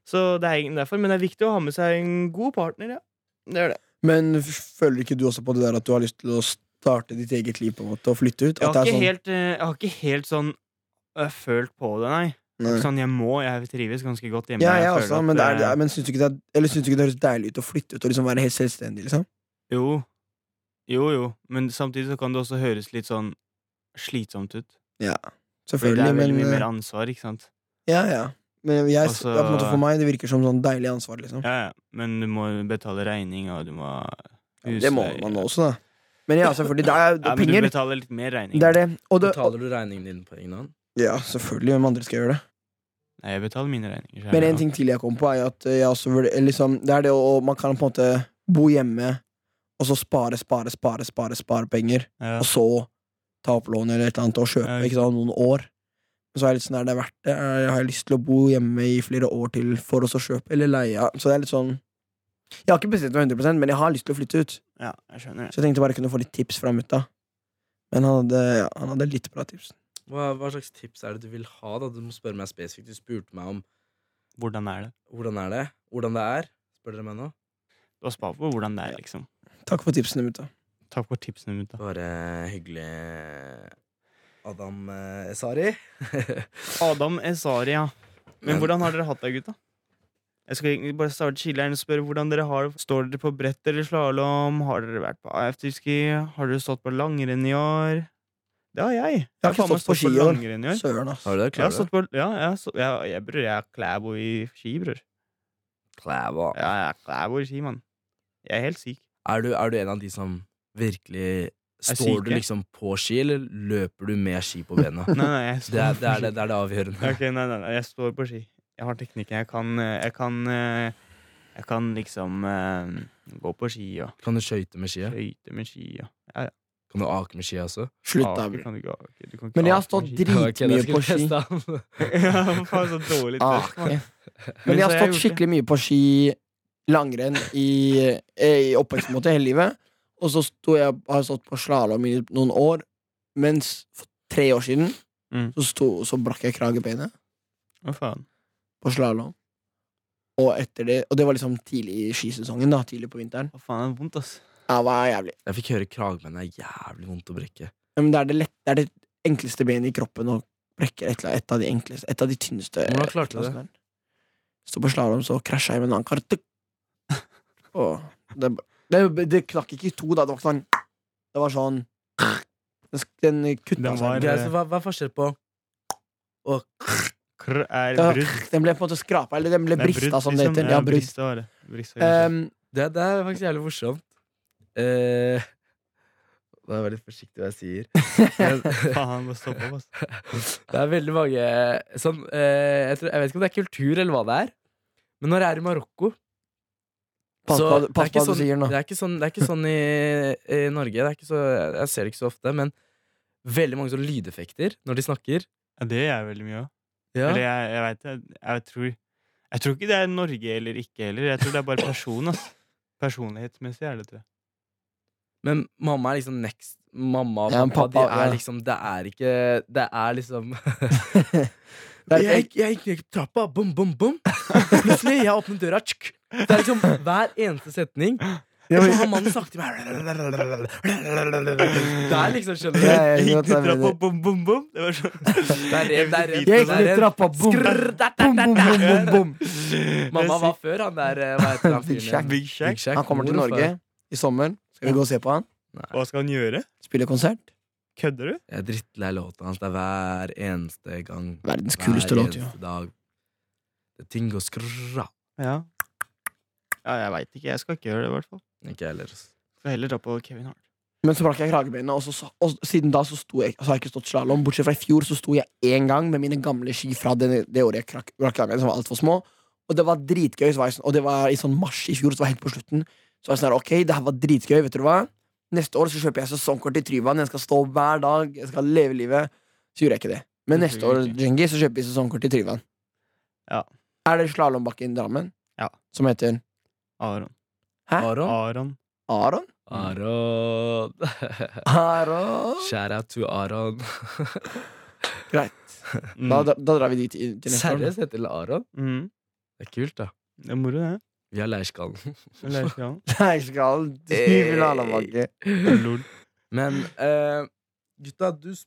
Speaker 2: Så det er egentlig derfor. Men det er viktig å ha med seg en god partner, ja. Det er det.
Speaker 3: Men f- føler ikke du også på det der at du har lyst til å starte ditt eget liv på en måte og flytte ut?
Speaker 2: Jeg
Speaker 3: At det
Speaker 2: har
Speaker 3: er
Speaker 2: ikke,
Speaker 3: sånn,
Speaker 2: helt, eh, jeg har ikke helt sånn øh, følt på det, nei.
Speaker 3: Nei.
Speaker 2: Sånn, jeg må, jeg trives ganske godt hjemme.
Speaker 3: Ja, jeg
Speaker 2: føler
Speaker 3: også,
Speaker 2: at,
Speaker 3: men, det er, det
Speaker 2: eh,
Speaker 3: er, men syns du ikke det, er- eller syns du ikke det høres deilig ut å flytte ut og liksom være helt selvstendig? liksom?
Speaker 2: Jo. Jo, jo. Men samtidig så kan det også høres litt sånn slitsomt ut. Fordi det
Speaker 3: Selvfølgelig,
Speaker 2: er veldig
Speaker 3: men
Speaker 2: mye
Speaker 3: eh,
Speaker 2: mer ansvar, ikke sant.
Speaker 3: Ja, ja. Men jeg,
Speaker 2: Altså-
Speaker 3: ja, på en måte for meg det virker som sånn deilig ansvar, liksom.
Speaker 2: Ja, ja. Men du må betale regninga, du må ha husleie.
Speaker 3: Det må man også, da. Men ja, selvfølgelig. Det
Speaker 2: Ja,
Speaker 3: er jo
Speaker 2: men du
Speaker 3: penger.
Speaker 2: betaler litt mer regning.
Speaker 3: Det er det. Og det
Speaker 5: Betaler du regningen din på egen hånd?
Speaker 3: ja, selvfølgelig. Hvem andre skal gjøre det?
Speaker 2: Nei, jeg betaler mine regninger.
Speaker 3: Men en ting til jeg kom på, er jo at eh, jeg også vurder- eller liksom, det er det å Man kan på en måte bo hjemme, og så spare, spare, spare, spare, spare penger.
Speaker 2: ja.
Speaker 3: og så ta opp lån eller et eller annet og kjøpe
Speaker 2: Ja,
Speaker 3: ikke sant, noen år. Men så er jeg litt sånn, er det verdt det? Er- Har jeg lyst til å bo hjemme i flere år til for å så kjøpe eller leie? Så det er litt sånn Jeg har ikke bestemt meg 100 men jeg har lyst til å flytte ut.
Speaker 2: ja, jeg skjønner det.
Speaker 3: Så jeg tenkte bare jeg kunne få litt tips fra mutta. Men han hadde, ja, han hadde litt bra tips.
Speaker 5: Hva, hva slags tips er det du vil ha da? Du må spørre meg spesifikt Du spurte meg om
Speaker 2: Hvordan er det?
Speaker 5: hvordan er det Hvordan det er Spør dere meg nå
Speaker 2: Du har spart på hvordan det er, liksom.
Speaker 3: Takk for tipsene, mutta.
Speaker 2: Takk for tipsene mine. da.
Speaker 5: Bare hyggelig Adam eh, Sari
Speaker 2: Adam Esari, ja. Men
Speaker 5: Men-
Speaker 2: hvordan har dere hatt det, gutta? Jeg skal egentlig bare starte chilleren og spørre hvordan dere har det. Står dere på brett eller slalåm? Har dere vært på afterski? Har dere stått på langrenn i år? Det har jeg. Jeg
Speaker 3: har ikke
Speaker 2: faen meg
Speaker 3: stått på ski i
Speaker 2: på
Speaker 3: år.
Speaker 2: langrenn i år.
Speaker 3: Søren, ass.
Speaker 5: Har du det?
Speaker 2: Jeg har
Speaker 5: Klarer du det?
Speaker 2: stått på Ja, jeg, har stå- jeg, jeg, bror, jeg er klæbo i ski, bror.
Speaker 5: Klæva.
Speaker 2: Ja, jeg er klæbo i ski, mann. Jeg er helt syk.
Speaker 5: Er du, er du en av de som virkelig
Speaker 2: Er
Speaker 5: Står du
Speaker 2: syke?
Speaker 5: liksom på ski, eller løper du med ski på bena?
Speaker 2: Nei, nei, jeg
Speaker 5: Det er det, er
Speaker 2: på
Speaker 5: det, det, er det
Speaker 2: ski.
Speaker 5: avgjørende.
Speaker 2: Ok, nei, nei, nei, jeg står på ski. Jeg har teknikken. Jeg kan eh, Jeg kan, eh, jeg kan liksom eh, gå på ski og
Speaker 5: Kan du skøyte med skia?
Speaker 2: skøyte med ski og
Speaker 5: Kan du ake med skia også?
Speaker 3: Slutt, da.
Speaker 2: Aker
Speaker 3: bror.
Speaker 2: kan du ikke ake. Du kan ikke
Speaker 3: Men jeg har
Speaker 2: ake med
Speaker 3: stått
Speaker 2: ski.
Speaker 5: Ah, Ok, det
Speaker 3: dritmye
Speaker 5: skal
Speaker 3: på
Speaker 5: vi
Speaker 3: ski.
Speaker 5: teste av.
Speaker 2: Ja, faen, så dårlig test.
Speaker 3: Ah, ok.
Speaker 2: Men
Speaker 3: Men
Speaker 2: så har jeg
Speaker 3: jeg har stått
Speaker 2: gjort det.
Speaker 3: skikkelig mye på ski, langrenn, i, eh, i oppveksten måte hele livet. Og så sto jeg, har jeg stått på slalåm i noen år, mens for tre år siden
Speaker 2: Mm.
Speaker 3: så, sto, så brakk jeg kragebeinet
Speaker 2: Hva faen?
Speaker 3: på slalåm. Og etter det Og det var liksom tidlig i skisesongen, da. Tidlig på vinteren.
Speaker 2: Hva faen, det er vondt, ass.
Speaker 3: Ja, det var jævlig.
Speaker 5: Jeg fikk høre kragbeinet er jævlig vondt å brekke.
Speaker 3: Ja, Men det er det, lett, det er det enkleste benet i kroppen å brekke. Et, eller annet- et av de enkleste Et av de tynneste.
Speaker 5: Hvordan klarte du det?
Speaker 3: Sto på slalåm, så krasja jeg med en annen kar. Tuk! Og det, det, det knakk ikke i to, da. Det var ikke sånn Det var sånn Den, sk- den kutta
Speaker 2: Den var-
Speaker 3: seg.
Speaker 5: Ok, så hva, hva er forskjell på og
Speaker 2: Krr er
Speaker 3: Det var-
Speaker 2: brudd.
Speaker 3: Den ble på en måte skrapa, eller den ble
Speaker 2: Nei, brudd,
Speaker 3: brista, som det
Speaker 2: liksom.
Speaker 3: heter. Ja, brudd.
Speaker 2: brista var det. Brista, kanskje.
Speaker 3: Ehm,
Speaker 5: det, det er faktisk jævlig morsomt. Eh, Nå er jeg veldig forsiktig hva jeg sier.
Speaker 3: Ehm.
Speaker 5: Men,
Speaker 2: Faen, bare stopp opp, ass.
Speaker 5: det er veldig mange sånn, eh, jeg, tror, jeg vet ikke om det er kultur eller hva det er, men når jeg er i Marokko
Speaker 3: pass
Speaker 5: så
Speaker 3: på,
Speaker 5: det er
Speaker 3: pass
Speaker 5: ikke
Speaker 3: på hva du
Speaker 5: sånn-
Speaker 3: sier nå.
Speaker 5: Det er ikke sånn, det er ikke sånn i, i Norge. Det er ikke så, jeg ser det ikke så ofte, men veldig mange sånne lydeffekter når de snakker.
Speaker 2: Ja, det gjør jeg veldig mye òg.
Speaker 5: Ja.
Speaker 2: Eller jeg, jeg veit det. Jeg, jeg, tror, jeg tror ikke det er Norge eller ikke heller. Jeg tror det er bare person, ass. Personlighetsmessig er det, tror jeg.
Speaker 5: Men mamma er liksom next. Mamma og
Speaker 3: Ja, men
Speaker 5: pappa,
Speaker 3: pappa,
Speaker 5: de er
Speaker 3: ja.
Speaker 5: liksom Det er ikke Det er liksom
Speaker 3: Det er-
Speaker 5: jeg, gikk- jeg gikk ned trappa, bom, bom, bom. Plutselig, jeg åpnet døra, tsk. Det er liksom hver eneste setning. Og så har mannen sagt til meg Det er liksom, skjønner du?
Speaker 3: Jeg
Speaker 2: Jeg
Speaker 3: gikk
Speaker 2: gikk ned
Speaker 3: ned
Speaker 2: trappa,
Speaker 3: trappa,
Speaker 2: bom, bom, bom. Det var sånn.
Speaker 5: Det er rev, det er rev.
Speaker 3: Jeg gikk
Speaker 5: det
Speaker 3: ned
Speaker 5: er rev.
Speaker 3: trappa, bom,
Speaker 5: Skrrr, da, da,
Speaker 3: bom,
Speaker 5: da,
Speaker 3: bom,
Speaker 5: da.
Speaker 3: bom, bom, bom.
Speaker 5: Mamma var før han der eh, Hva heter han
Speaker 3: Big
Speaker 5: fyren?
Speaker 3: Shaq.
Speaker 2: Big Shack.
Speaker 5: Big Shaq.
Speaker 3: Han kommer til
Speaker 5: Hvorfor?
Speaker 3: Norge i sommer. Skal vi gå og se på han?
Speaker 2: Hva skal han gjøre?
Speaker 3: Spille konsert?
Speaker 2: Kødder du?
Speaker 5: Jeg er drittlei låta hans. Det er hver eneste gang.
Speaker 3: Verdens
Speaker 5: Hver
Speaker 3: kuleste låt, jo.
Speaker 5: eneste dag. Det er ting å skrra.
Speaker 2: Ja. ja jeg veit ikke. Jeg skal ikke gjøre det, i hvert fall.
Speaker 5: Ikke jeg heller. ass.
Speaker 2: Skal heller dra på Kevin Hart.
Speaker 3: Men så brakk jeg kragebeinet, og, så, sa- og siden da så, sto jeg, så har jeg ikke stått slalåm. Bortsett fra i fjor, så sto jeg én gang med mine gamle ski fra det, det året jeg krakk, brakk kragebeinet, som var altfor små. Og det var dritgøy, så var jeg sånn, og det var i sånn mars i fjor, så var jeg helt på slutten. Så var jeg sånn her, ok, det her var dritgøy, vet du hva? Neste år så kjøper jeg sesongkort til Tryvann, jeg skal stå hver dag, jeg skal leve livet. Så gjorde jeg ikke det. Men
Speaker 2: Det
Speaker 3: neste
Speaker 2: tror
Speaker 3: år,
Speaker 2: jeg ikke.
Speaker 3: Djengi, så kjøper vi sesongkort til Tryvann.
Speaker 2: Mhm, Ja.
Speaker 3: Er det slalåmbakke i Drammen?
Speaker 2: Ja.
Speaker 3: Som heter
Speaker 2: Aron.
Speaker 3: Hæ?
Speaker 5: Aron?
Speaker 2: Aron.
Speaker 3: Aron?
Speaker 5: Aron.
Speaker 3: Aron?
Speaker 5: Shout out to Aron.
Speaker 3: Greit.
Speaker 2: Mm.
Speaker 3: Da, da, da drar vi dit i- til neste år.
Speaker 5: Seriøst heter det Aron?
Speaker 2: Mm.
Speaker 5: Det er kult, da.
Speaker 2: Det er moro, det.
Speaker 5: Vi har leirskallen.
Speaker 2: Leirskallen.
Speaker 3: Nei, skal du
Speaker 2: Eh,
Speaker 3: vil ha landbakke?
Speaker 2: Lol.
Speaker 5: Men eh, gutta, du s-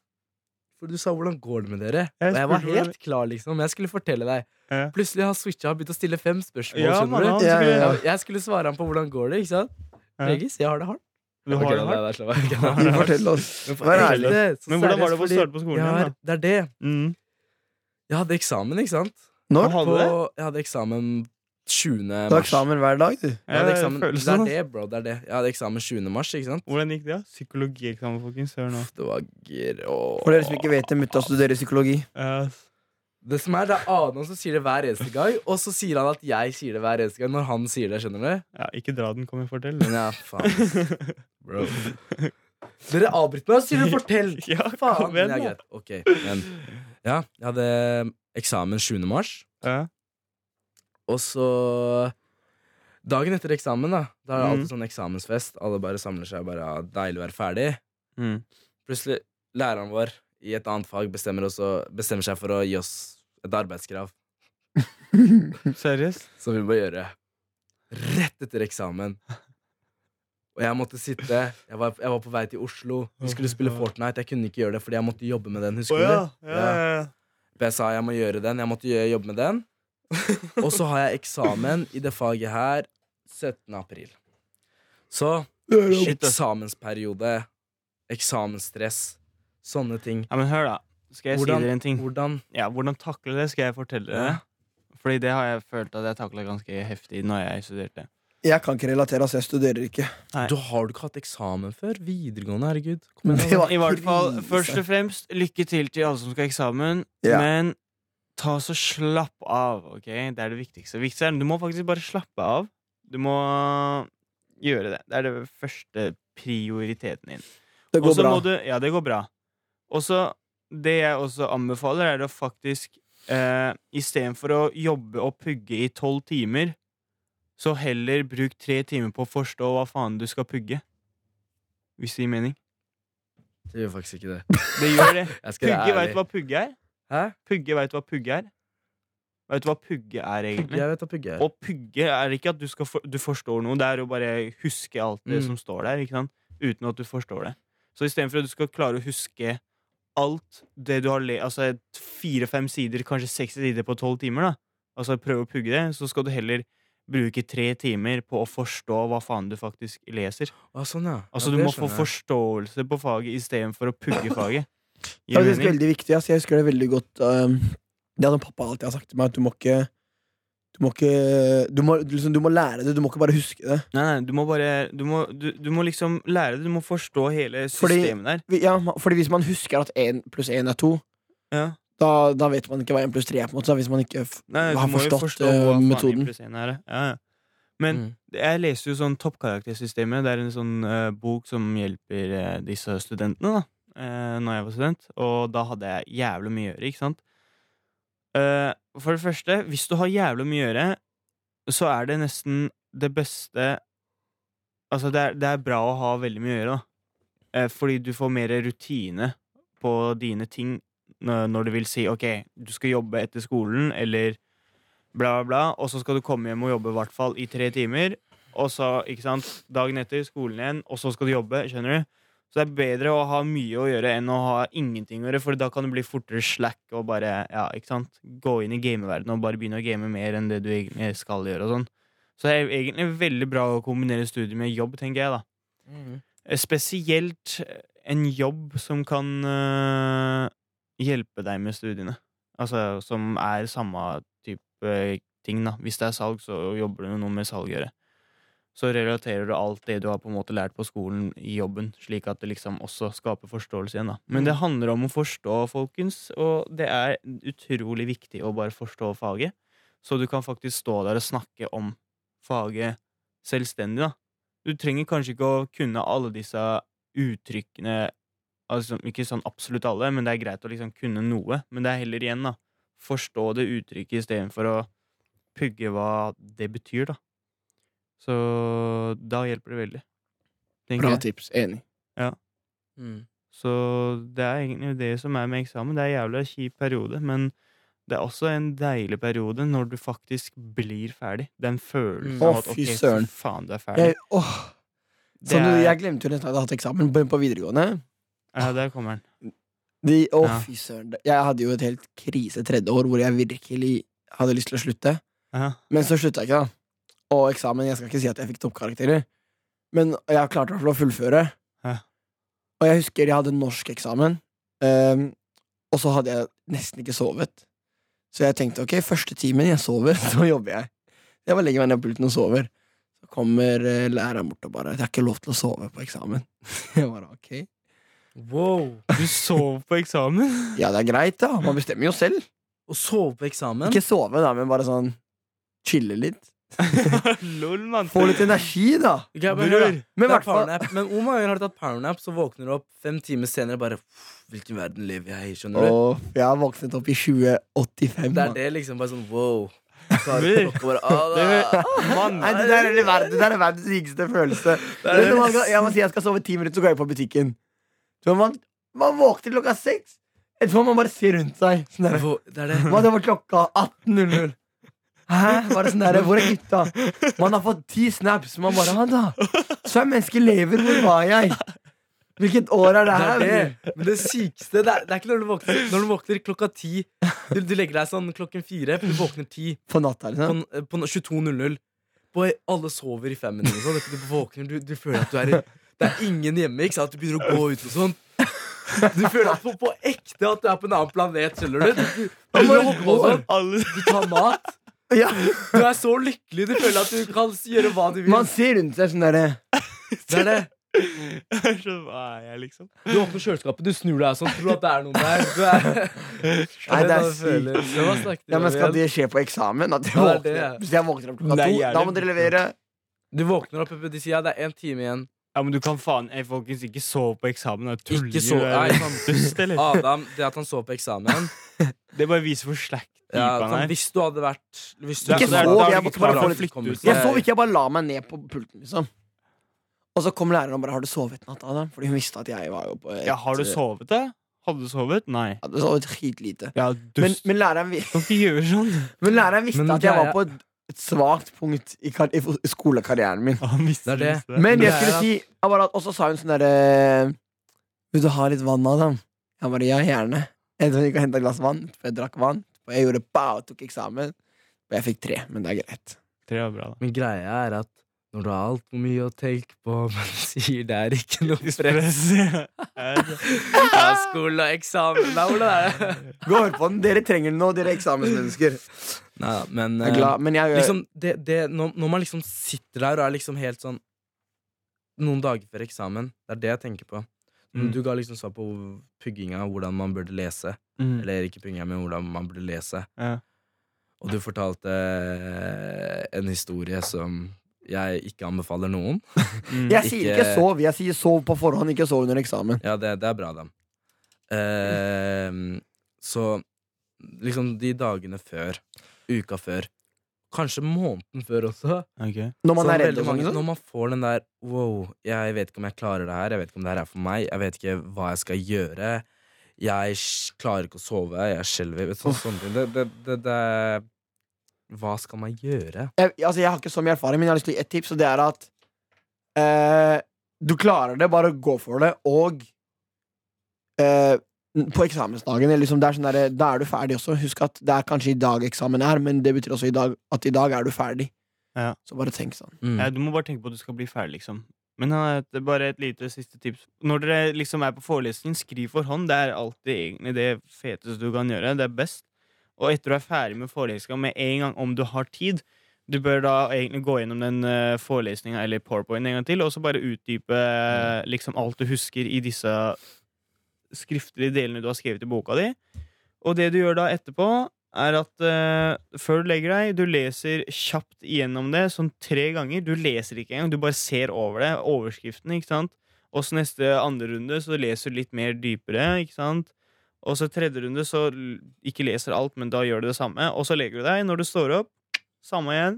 Speaker 5: for du sa 'hvordan går det med dere?'
Speaker 2: Jeg
Speaker 5: og jeg var
Speaker 2: spurte hvordan-
Speaker 5: helt klar, liksom. Jeg skulle fortelle deg.
Speaker 2: Ja.
Speaker 5: Plutselig har switcha og begynt å stille fem spørsmål.
Speaker 2: Ja,
Speaker 5: skjønner
Speaker 2: man,
Speaker 5: du?
Speaker 2: han
Speaker 3: Ja,
Speaker 2: skulle
Speaker 3: ja, ja.
Speaker 5: Og Jeg skulle svare han på 'hvordan går det?' ikke sant?
Speaker 2: Ja.
Speaker 5: Regis, jeg har det hardt.
Speaker 2: Du
Speaker 5: Ok,
Speaker 2: har
Speaker 5: da,
Speaker 2: det
Speaker 5: nei,
Speaker 2: hardt.
Speaker 5: nei, slapp av.
Speaker 2: Ja,
Speaker 5: Men
Speaker 2: det er
Speaker 5: for-
Speaker 3: Fortell oss.
Speaker 5: for
Speaker 3: Vær
Speaker 5: ekte,
Speaker 3: ærlig.
Speaker 5: så
Speaker 2: Men hvordan
Speaker 5: seriøst,
Speaker 2: var det å
Speaker 5: fordi
Speaker 2: starte på skolen
Speaker 5: jeg
Speaker 2: igjen,
Speaker 5: har-
Speaker 2: da?
Speaker 5: Det er det.
Speaker 2: Mm.
Speaker 5: Jeg hadde eksamen, ikke sant?
Speaker 3: Når?
Speaker 2: Hva hadde du det?
Speaker 5: På, jeg hadde eksamen 20.
Speaker 3: Du har
Speaker 5: mars.
Speaker 3: eksamen hver dag, du.
Speaker 5: Jeg hadde eksamen,
Speaker 2: føler
Speaker 5: det er
Speaker 2: sånn, ass.
Speaker 5: det, bro. Det er det. Jeg hadde eksamen 20. mars, ikke sant?
Speaker 2: Hvordan gikk det? da? Psykologieksamen, folkens. Hør nå.
Speaker 5: Uff, Det var gir og
Speaker 3: For dere som ikke vet det, liksom- mutta studerer psykologi.
Speaker 5: Det som er, det er Anon som sier det hver eneste gang, og så sier han at jeg sier det hver eneste gang når han sier det. skjønner du?
Speaker 2: Ja, ikke dra den, kom og fortell.
Speaker 5: Men ja, faen ass. Bro. Dere avbryter meg og sier det 'fortell'.
Speaker 2: Ja,
Speaker 5: Faen.
Speaker 2: kom
Speaker 5: Men
Speaker 2: igjen,
Speaker 5: det er
Speaker 2: da.
Speaker 5: greit. Ok, men Ja, jeg hadde eksamen 7. mars.
Speaker 2: Ja.
Speaker 5: Og så Dagen etter eksamen, da. Da er det
Speaker 2: Mhm.
Speaker 5: alltid sånn eksamensfest. Alle bare samler seg og bare ja, 'deilig å være ferdig'.
Speaker 2: Mm.
Speaker 5: Plutselig læreren vår i et annet fag bestemmer, oss å- bestemmer seg for å gi oss et arbeidskrav.
Speaker 2: Seriøst?
Speaker 5: Som vi må gjøre rett etter eksamen. Og jeg måtte sitte Jeg var, jeg var på vei til Oslo. Vi skulle spille Fortnite. Jeg kunne ikke gjøre det fordi jeg måtte jobbe med den. Husker du? Ja. For jeg sa jeg må gjøre den. Jeg måtte gjø- jobbe med den. Og så har jeg eksamen i det faget her 17. april. Så
Speaker 2: Shit, ass.
Speaker 5: eksamensperiode, eksamensstress, Sånne ting.
Speaker 2: Ja, men hør, da. Skal jeg
Speaker 5: Hvordan-
Speaker 2: si dere en ting?
Speaker 5: Hvordan
Speaker 2: Ja, Hvordan takle det, skal jeg fortelle dere. Fordi det har jeg følt at jeg takla ganske heftig når jeg studerte.
Speaker 3: Jeg kan ikke relatere, altså. Jeg studerer ikke.
Speaker 2: Nei.
Speaker 5: Du har du ikke hatt eksamen før? Videregående, herregud.
Speaker 3: Men det var
Speaker 2: I hvert fall,
Speaker 3: krise.
Speaker 2: først og fremst, lykke til til alle som skal ha eksamen.
Speaker 3: Ja.
Speaker 2: Men ta så slapp av, ok? Det er det viktigste. Det viktigste er, du må faktisk bare slappe av. Du må gjøre det. Det er det første prioriteten din.
Speaker 3: Det
Speaker 2: Og
Speaker 3: går
Speaker 2: så
Speaker 3: bra.
Speaker 2: må du Ja, det går bra. Og så Det jeg også anbefaler, er å faktisk eh, Istedenfor å jobbe og pugge i tolv timer, så heller bruk tre timer på å forstå hva faen du skal pugge. Hvis det gir mening.
Speaker 5: Det gjør faktisk ikke det.
Speaker 2: Det gjør det.
Speaker 5: Jeg skal
Speaker 2: Pugge, veit
Speaker 5: være
Speaker 2: du
Speaker 5: ærlig.
Speaker 2: hva pugge er?
Speaker 5: Hæ?
Speaker 2: Pugge veit hva pugge er? Veit du hva pugge er, egentlig?
Speaker 5: Jeg vet hva pugge er.
Speaker 2: Og pugge er ikke at du, skal for, du forstår noe, det er å bare huske alt det
Speaker 5: Mm.
Speaker 2: som står der, ikke sant? uten at du forstår det. Så istedenfor at du skal klare å huske alt det du har le... Altså et fire-fem sider, kanskje seks sider på tolv timer, da. Altså prøve å pugge det, så skal du heller bruke tre timer på å forstå hva faen du faktisk leser.
Speaker 5: Ah, sånn, ja.
Speaker 2: Altså
Speaker 5: ja,
Speaker 2: du
Speaker 5: det
Speaker 2: må få
Speaker 5: skjønner jeg.
Speaker 2: forståelse på faget istedenfor å pugge faget.
Speaker 3: Det
Speaker 2: Gir
Speaker 3: er
Speaker 2: du
Speaker 3: faktisk
Speaker 2: mening?
Speaker 3: veldig viktig. ass. Jeg husker det veldig godt. ehm, det hadde pappa alltid har sagt til meg, at du må ikke Du må ikke Du må, liksom, du må lære det, du må ikke bare huske det.
Speaker 2: Nei, nei, du må bare Du må, du, du må liksom lære det. Du må forstå hele
Speaker 3: Fordi-
Speaker 2: systemet der.
Speaker 3: Vi- Ja, ma- fordi hvis man husker at én pluss én er to,
Speaker 2: Ja.
Speaker 3: da, da vet man ikke hva én pluss tre er, på en måte. da, Hvis man ikke f-
Speaker 2: Nei, du
Speaker 3: har
Speaker 2: må jo
Speaker 3: forstått
Speaker 2: forstå
Speaker 3: eh,
Speaker 2: hva faen
Speaker 3: metoden.
Speaker 2: impliserende er, Ja, ja. Men
Speaker 5: Mm.
Speaker 2: jeg leser jo sånn Toppkaraktersystemet. Det er en sånn eh, bok som hjelper eh, disse studentene, da. Uh, når jeg var student. Og da hadde jeg jævlig mye å gjøre, ikke sant? Eh, for det første, hvis du har jævlig mye å gjøre, så er det nesten det beste Altså, det er, det er bra å ha veldig mye å gjøre, da. Eh, fordi du får mer rutine på dine ting når, når du vil si OK, du skal jobbe etter skolen, eller bla, bla, bla, og så skal du komme hjem og jobbe i hvert fall i tre timer, og så, ikke sant, dagen etter skolen igjen, og så skal du jobbe, skjønner du? Så det er bedre å ha mye å gjøre enn å ha ingenting å gjøre, for da kan du bli fortere slack og bare, ja, ikke sant, gå inn i gameverdenen og bare begynne å game mer enn det du egentlig skal gjøre og sånn. Så det er egentlig veldig bra å kombinere studiet med jobb, tenker jeg da.
Speaker 5: Mm.
Speaker 2: Eh, Spesielt eh, en jobb som kan øh, hjelpe deg med studiene. Altså som er samme type øh, ting, da. Hvis det er salg, så jobber du med noe med salg å gjøre. Så relaterer du alt det du har på en måte lært på skolen, i jobben, slik at det liksom også skaper forståelse igjen, da. Men det handler om å forstå, folkens, og det er utrolig viktig å bare forstå faget. Så du kan faktisk stå der og snakke om faget selvstendig, da du trenger kanskje ikke å kunne alle disse uttrykkene altså, Ikke sånn absolutt alle, men det er greit å liksom kunne noe. Men det er heller igjen, da. Forstå det uttrykket istedenfor å pugge hva det betyr, da. Så da hjelper det veldig. tenker
Speaker 3: Bra
Speaker 2: jeg.
Speaker 3: tips. Enig.
Speaker 5: Mm.
Speaker 2: Så det er egentlig det som er med eksamen. Det er en jævla kjip periode, men det er også en deilig periode når du faktisk blir ferdig. Den følelsen
Speaker 5: Mm.
Speaker 2: av
Speaker 3: Å,
Speaker 2: at
Speaker 3: fy
Speaker 2: ok, fy
Speaker 3: søren.
Speaker 2: faen, du er ferdig.
Speaker 3: Jeg, åh,
Speaker 2: Det
Speaker 3: sånn,
Speaker 2: er-
Speaker 3: jeg glemte jo nesten at jeg hadde hatt eksamen på, på videregående.
Speaker 2: Ja, der kommer den.
Speaker 3: De, å,
Speaker 2: Ja.
Speaker 3: fy søren. Jeg hadde jo et helt krise tredje år hvor jeg virkelig hadde lyst til å slutte.
Speaker 2: Ja.
Speaker 3: Men så slutta jeg ikke, da. Og eksamen Jeg skal ikke si at jeg fikk toppkarakterer, men jeg klarte i hvert fall å fullføre.
Speaker 2: Ja.
Speaker 3: Og jeg husker jeg hadde norskeksamen, um, og så hadde jeg nesten ikke sovet. Så jeg tenkte ok, første timen jeg sover, så jobber jeg. Jeg bare legger meg ned på pulten og sover. Så kommer eh, læreren bort og bare 'Jeg har ikke lov til å sove på eksamen'. Jeg bare, ok
Speaker 5: mm. Wow!
Speaker 2: Du sov på eksamen?
Speaker 3: Ja, det er greit, da. Man bestemmer jo selv.
Speaker 5: Å sove på eksamen?
Speaker 3: Ikke sove, da, men bare sånn chille litt.
Speaker 2: Lol, mann.
Speaker 3: Få litt energi, da.
Speaker 5: Ok, men hør
Speaker 2: Bror,
Speaker 5: da.
Speaker 3: Men i
Speaker 5: Det er
Speaker 3: hvert fall
Speaker 5: powernap, Men hvor mange ganger har du tatt powernap, så våkner du opp fem timer senere bare "Pff, Hvilken verden lever jeg i? Skjønner du?
Speaker 3: Og jeg har våknet opp i 2085.
Speaker 5: Det er
Speaker 3: mann.
Speaker 5: det liksom bare sånn wow. Så har du
Speaker 2: Bror.
Speaker 5: klokka bare, «Ah, da».
Speaker 2: Mann.
Speaker 3: Nei, det der er det verden, det der er verdens rikeste følelse.
Speaker 5: er det
Speaker 3: Når man skal- Jeg må si jeg skal sove ti minutter, så går jeg på butikken. Så man, man våkner klokka seks. Etterpå må man bare se rundt seg. Sånn der,
Speaker 5: Hvor- Det er det.
Speaker 3: Hva, det var klokka 18.00. Hæ? Var det sånn der, Hvor er gutta? Man har fått ti snaps. Man bare Han, da. Så er mennesket lever. Hvor var jeg? Hvilket år er det
Speaker 5: Det
Speaker 3: her?
Speaker 5: er det. Men det sykeste det er, det er ikke når du våkner Når du våkner klokka ti. Du, du legger deg sånn klokken fire, du våkner ti
Speaker 3: På natta,
Speaker 5: på,
Speaker 3: liksom.
Speaker 5: n- på n- 22.00. På, alle sover i fem minutter. og Sånn. Du våkner, du, du føler at du er i Det er ingen hjemme, ikke sant? Du begynner å gå ut og sånn. Du føler på, på ekte at du er på en annen planet, skjønner du? Du,
Speaker 2: Da
Speaker 5: du,
Speaker 2: må
Speaker 5: holder på sånn.
Speaker 2: alle
Speaker 5: du tar mat.
Speaker 3: Ja.
Speaker 5: Du er så lykkelig. Du føler at du kan gjøre hva du vil.
Speaker 3: Man ser rundt seg sånn derre
Speaker 5: Det er det.
Speaker 2: Jeg skjønner, Hva er jeg, liksom?
Speaker 5: Du åpner kjøleskapet, du snur deg sånn, tror at det er noen der. Du er...
Speaker 3: Nei, det er
Speaker 5: Jeg føler-
Speaker 3: sykt.
Speaker 5: Hva
Speaker 3: Ja,
Speaker 5: snakket dere
Speaker 3: men
Speaker 5: om
Speaker 3: skal
Speaker 5: igjen?
Speaker 3: det skje på eksamen? At jeg
Speaker 5: Ja, det er
Speaker 3: våkner,
Speaker 5: det.
Speaker 3: hvis jeg våkner opp klokka
Speaker 2: Nei,
Speaker 3: to,
Speaker 2: jeg er
Speaker 3: da må dere levere.
Speaker 5: Du våkner opp, de sier ja, det er en time igjen.
Speaker 2: Ja, men du kan faen Ei, folkens, ikke sove på eksamen. da Tuller
Speaker 5: Ikke sove-
Speaker 2: du? Er du
Speaker 5: nei, sant. Ah.
Speaker 2: dust, eller?
Speaker 5: Adam, det at han så på eksamen
Speaker 2: Det bare viser hvor slack
Speaker 5: ja,
Speaker 2: typen
Speaker 5: sånn,
Speaker 2: han er.
Speaker 5: Hvis du hadde vært hvis du
Speaker 3: Ikke
Speaker 5: hadde vært-
Speaker 3: sov,
Speaker 2: da er du
Speaker 3: jeg måtte bare
Speaker 2: klar
Speaker 3: få
Speaker 2: for å
Speaker 3: litt-
Speaker 2: flytte ut.
Speaker 3: Jeg sov ikke, jeg bare la meg ned på pulten, liksom. Og så kom læreren og bare 'Har du sovet i natt, Adam?' Fordi hun visste at jeg var jo på et, eh,
Speaker 2: Ja, har du
Speaker 5: eh,
Speaker 2: sovet, da? Hadde du sovet? Nei.
Speaker 3: hadde sovet skitlite.
Speaker 2: Ja,
Speaker 3: Men,
Speaker 2: dust.
Speaker 3: men, læreren, vi-
Speaker 2: Du kan ikke gjøre sånn.
Speaker 3: men læreren visste
Speaker 5: Men
Speaker 3: at jeg var
Speaker 5: greia-
Speaker 3: på et, et svakt punkt i, kar i fo- i skolekarrieren min.
Speaker 2: Han visste
Speaker 5: Det er det.
Speaker 2: visste
Speaker 3: Men jeg
Speaker 5: Greia er
Speaker 3: skulle
Speaker 5: at-
Speaker 3: si jeg bare, at- Og så sa hun sånn derre 'Vil du ha litt vann, Adam?' Jeg bare 'Ja, gjerne'. Jeg gikk og henta et glass vann, for jeg drakk vann. Og jeg gjorde ba og tok eksamen. Og jeg fikk tre, men det er greit.
Speaker 2: Tre var bra, da.
Speaker 5: Men greia er at når du har altfor mye å tenke på, men sier det er ikke noe press
Speaker 2: Press.
Speaker 5: Ja, skole og eksamen da, hvordan er det?
Speaker 3: Gå og hør på den. Dere trenger den nå, dere eksamensmennesker.
Speaker 5: Nei, men,
Speaker 3: Jeg er
Speaker 5: eh,
Speaker 3: glad, men jeg
Speaker 5: liksom, det, det, når, når man liksom sitter der og er liksom helt sånn Noen dager før eksamen, det er det jeg tenker på.
Speaker 2: Mm.
Speaker 5: Du ga liksom svar på pugginga, hvordan man burde lese.
Speaker 2: Mm.
Speaker 5: Eller ikke pugginga, men hvordan man burde lese.
Speaker 2: Ja.
Speaker 5: Og du fortalte eh, en historie som jeg ikke anbefaler noen.
Speaker 2: Mm.
Speaker 3: Jeg sier ikke
Speaker 5: ikke-
Speaker 3: sov. Jeg sier sov på forhånd, ikke sov under eksamen.
Speaker 5: Ja, det, det er bra, da. Eh, så liksom de dagene før, uka før, kanskje måneden før også,
Speaker 2: Ok.
Speaker 3: Når man
Speaker 5: Så
Speaker 3: er redd
Speaker 5: veldig
Speaker 3: og sånn.
Speaker 5: mange,
Speaker 3: sånn.
Speaker 5: Når man får den der Wow, jeg vet ikke om jeg klarer det her Jeg vet ikke om det her er for meg Jeg vet ikke hva jeg skal gjøre Jeg sj- klarer ikke å sove Jeg skjelver vet du, sånn, sånne ting. det, det, det, det Hva skal man gjøre?
Speaker 3: Jeg, altså, jeg har ikke så mye erfaring, men jeg har lyst til å gi ett tips, og det er at eh, du klarer det, bare gå for det, og eh, på eksamensdagen eller liksom, det er sånn der, Da er du ferdig også. Husk at det er kanskje i dag eksamen er, men det betyr også i dag, at i dag er du ferdig.
Speaker 2: Ja.
Speaker 3: Så bare tenk sånn.
Speaker 5: Mm.
Speaker 2: Ja, Eh, du må bare tenke på at du skal bli ferdig, liksom. Men eh, det er bare et lite siste tips. Når dere liksom er på forelesning, skriv for hånd. Det er alltid egentlig det feteste du kan gjøre. Det er best. Og etter du er ferdig med forelesninga, med en gang om du har tid, du bør da egentlig gå gjennom den uh, forelesninga eller powerpointen en gang til, og så bare utdype eh, liksom alt du husker i disse skriftlige delene du har skrevet i boka di. Og det du gjør da etterpå, er at eh, før du legger deg, du leser kjapt igjennom det, sånn tre ganger. Du leser ikke engang, du bare ser over det, overskriften, ikke sant? Og så neste andre runde så leser du litt mer dypere, ikke sant? Og så tredje runde så l- ikke leser alt, men da gjør du det samme. Og så legger du deg. Når du står opp, samme igjen.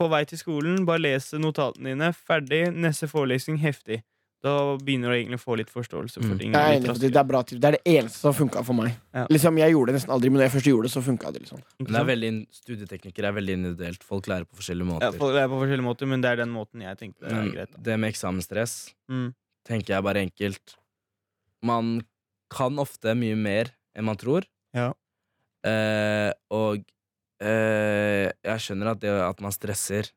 Speaker 2: På vei til skolen, bare les notatene dine. Ferdig. Neste forelesning, heftig. Da begynner du egentlig å få litt forståelse for
Speaker 5: Mm.
Speaker 2: ting.
Speaker 3: Jeg er
Speaker 2: litt
Speaker 3: enig,
Speaker 2: raskere.
Speaker 3: det er bra tips. Det er det eneste som funka for meg.
Speaker 2: Ja.
Speaker 3: Liksom, jeg gjorde det nesten aldri, men når jeg først gjorde det, så funka det. liksom
Speaker 5: Men det er veldig, Studieteknikker er veldig individuelt Folk lærer på forskjellige
Speaker 2: Ja,
Speaker 5: måter
Speaker 2: for- det er på forskjellige måter, men det er den måten jeg tenkte det er
Speaker 5: Men
Speaker 2: greit. da.
Speaker 5: det med eksamensstress
Speaker 2: Mm.
Speaker 5: Tenker jeg bare enkelt Man kan ofte mye mer enn man tror
Speaker 2: Ja.
Speaker 5: Eh, Og eh, jeg skjønner at det at man stresser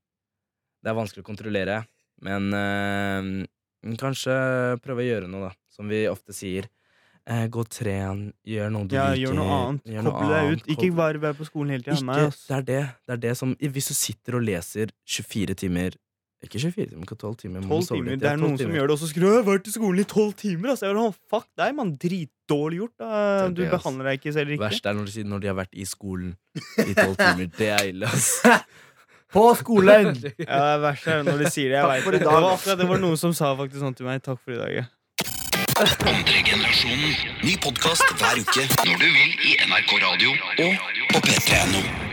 Speaker 5: Det er vanskelig å kontrollere Men eh, kanskje prøve å gjøre noe da Som vi ofte sier Eh, gå og tren, gjør noe du
Speaker 2: Ja,
Speaker 5: liker
Speaker 2: gjør noe annet.
Speaker 5: gjør noe
Speaker 2: Koble deg
Speaker 5: annet,
Speaker 2: ut. Ikke
Speaker 5: koble-
Speaker 2: bare være på skolen hele tida.
Speaker 5: ikke,
Speaker 2: Nei, ass.
Speaker 5: det er det. det er det som Hvis du sitter og leser 24 timer Ikke 24 timer, men 12 timer.
Speaker 2: Tolv timer. Det er noen som gjør det, og så skriver du 'Jeg har vært i skolen i tolv timer'. ass. Jeg bare, «Å, Fuck deg, mann. Dritdårlig gjort. Da.
Speaker 5: Det er
Speaker 2: Du
Speaker 5: det, ass.
Speaker 2: behandler deg ikke selv riktig.
Speaker 5: Verst er når de, sier- når de har vært i skolen i 12 timer. Det er ille, ass.
Speaker 3: På skolen!
Speaker 2: Ja, det er verst er når de sier det. Jeg
Speaker 3: Takk
Speaker 2: vet
Speaker 3: for
Speaker 2: det.
Speaker 3: i
Speaker 2: Det
Speaker 3: dag.
Speaker 2: var akkurat det var noen som sa faktisk sånn til meg. Takk for i dag. Ja.
Speaker 1: Ny podkast hver uke når du vil i NRK Radio og på p3.no.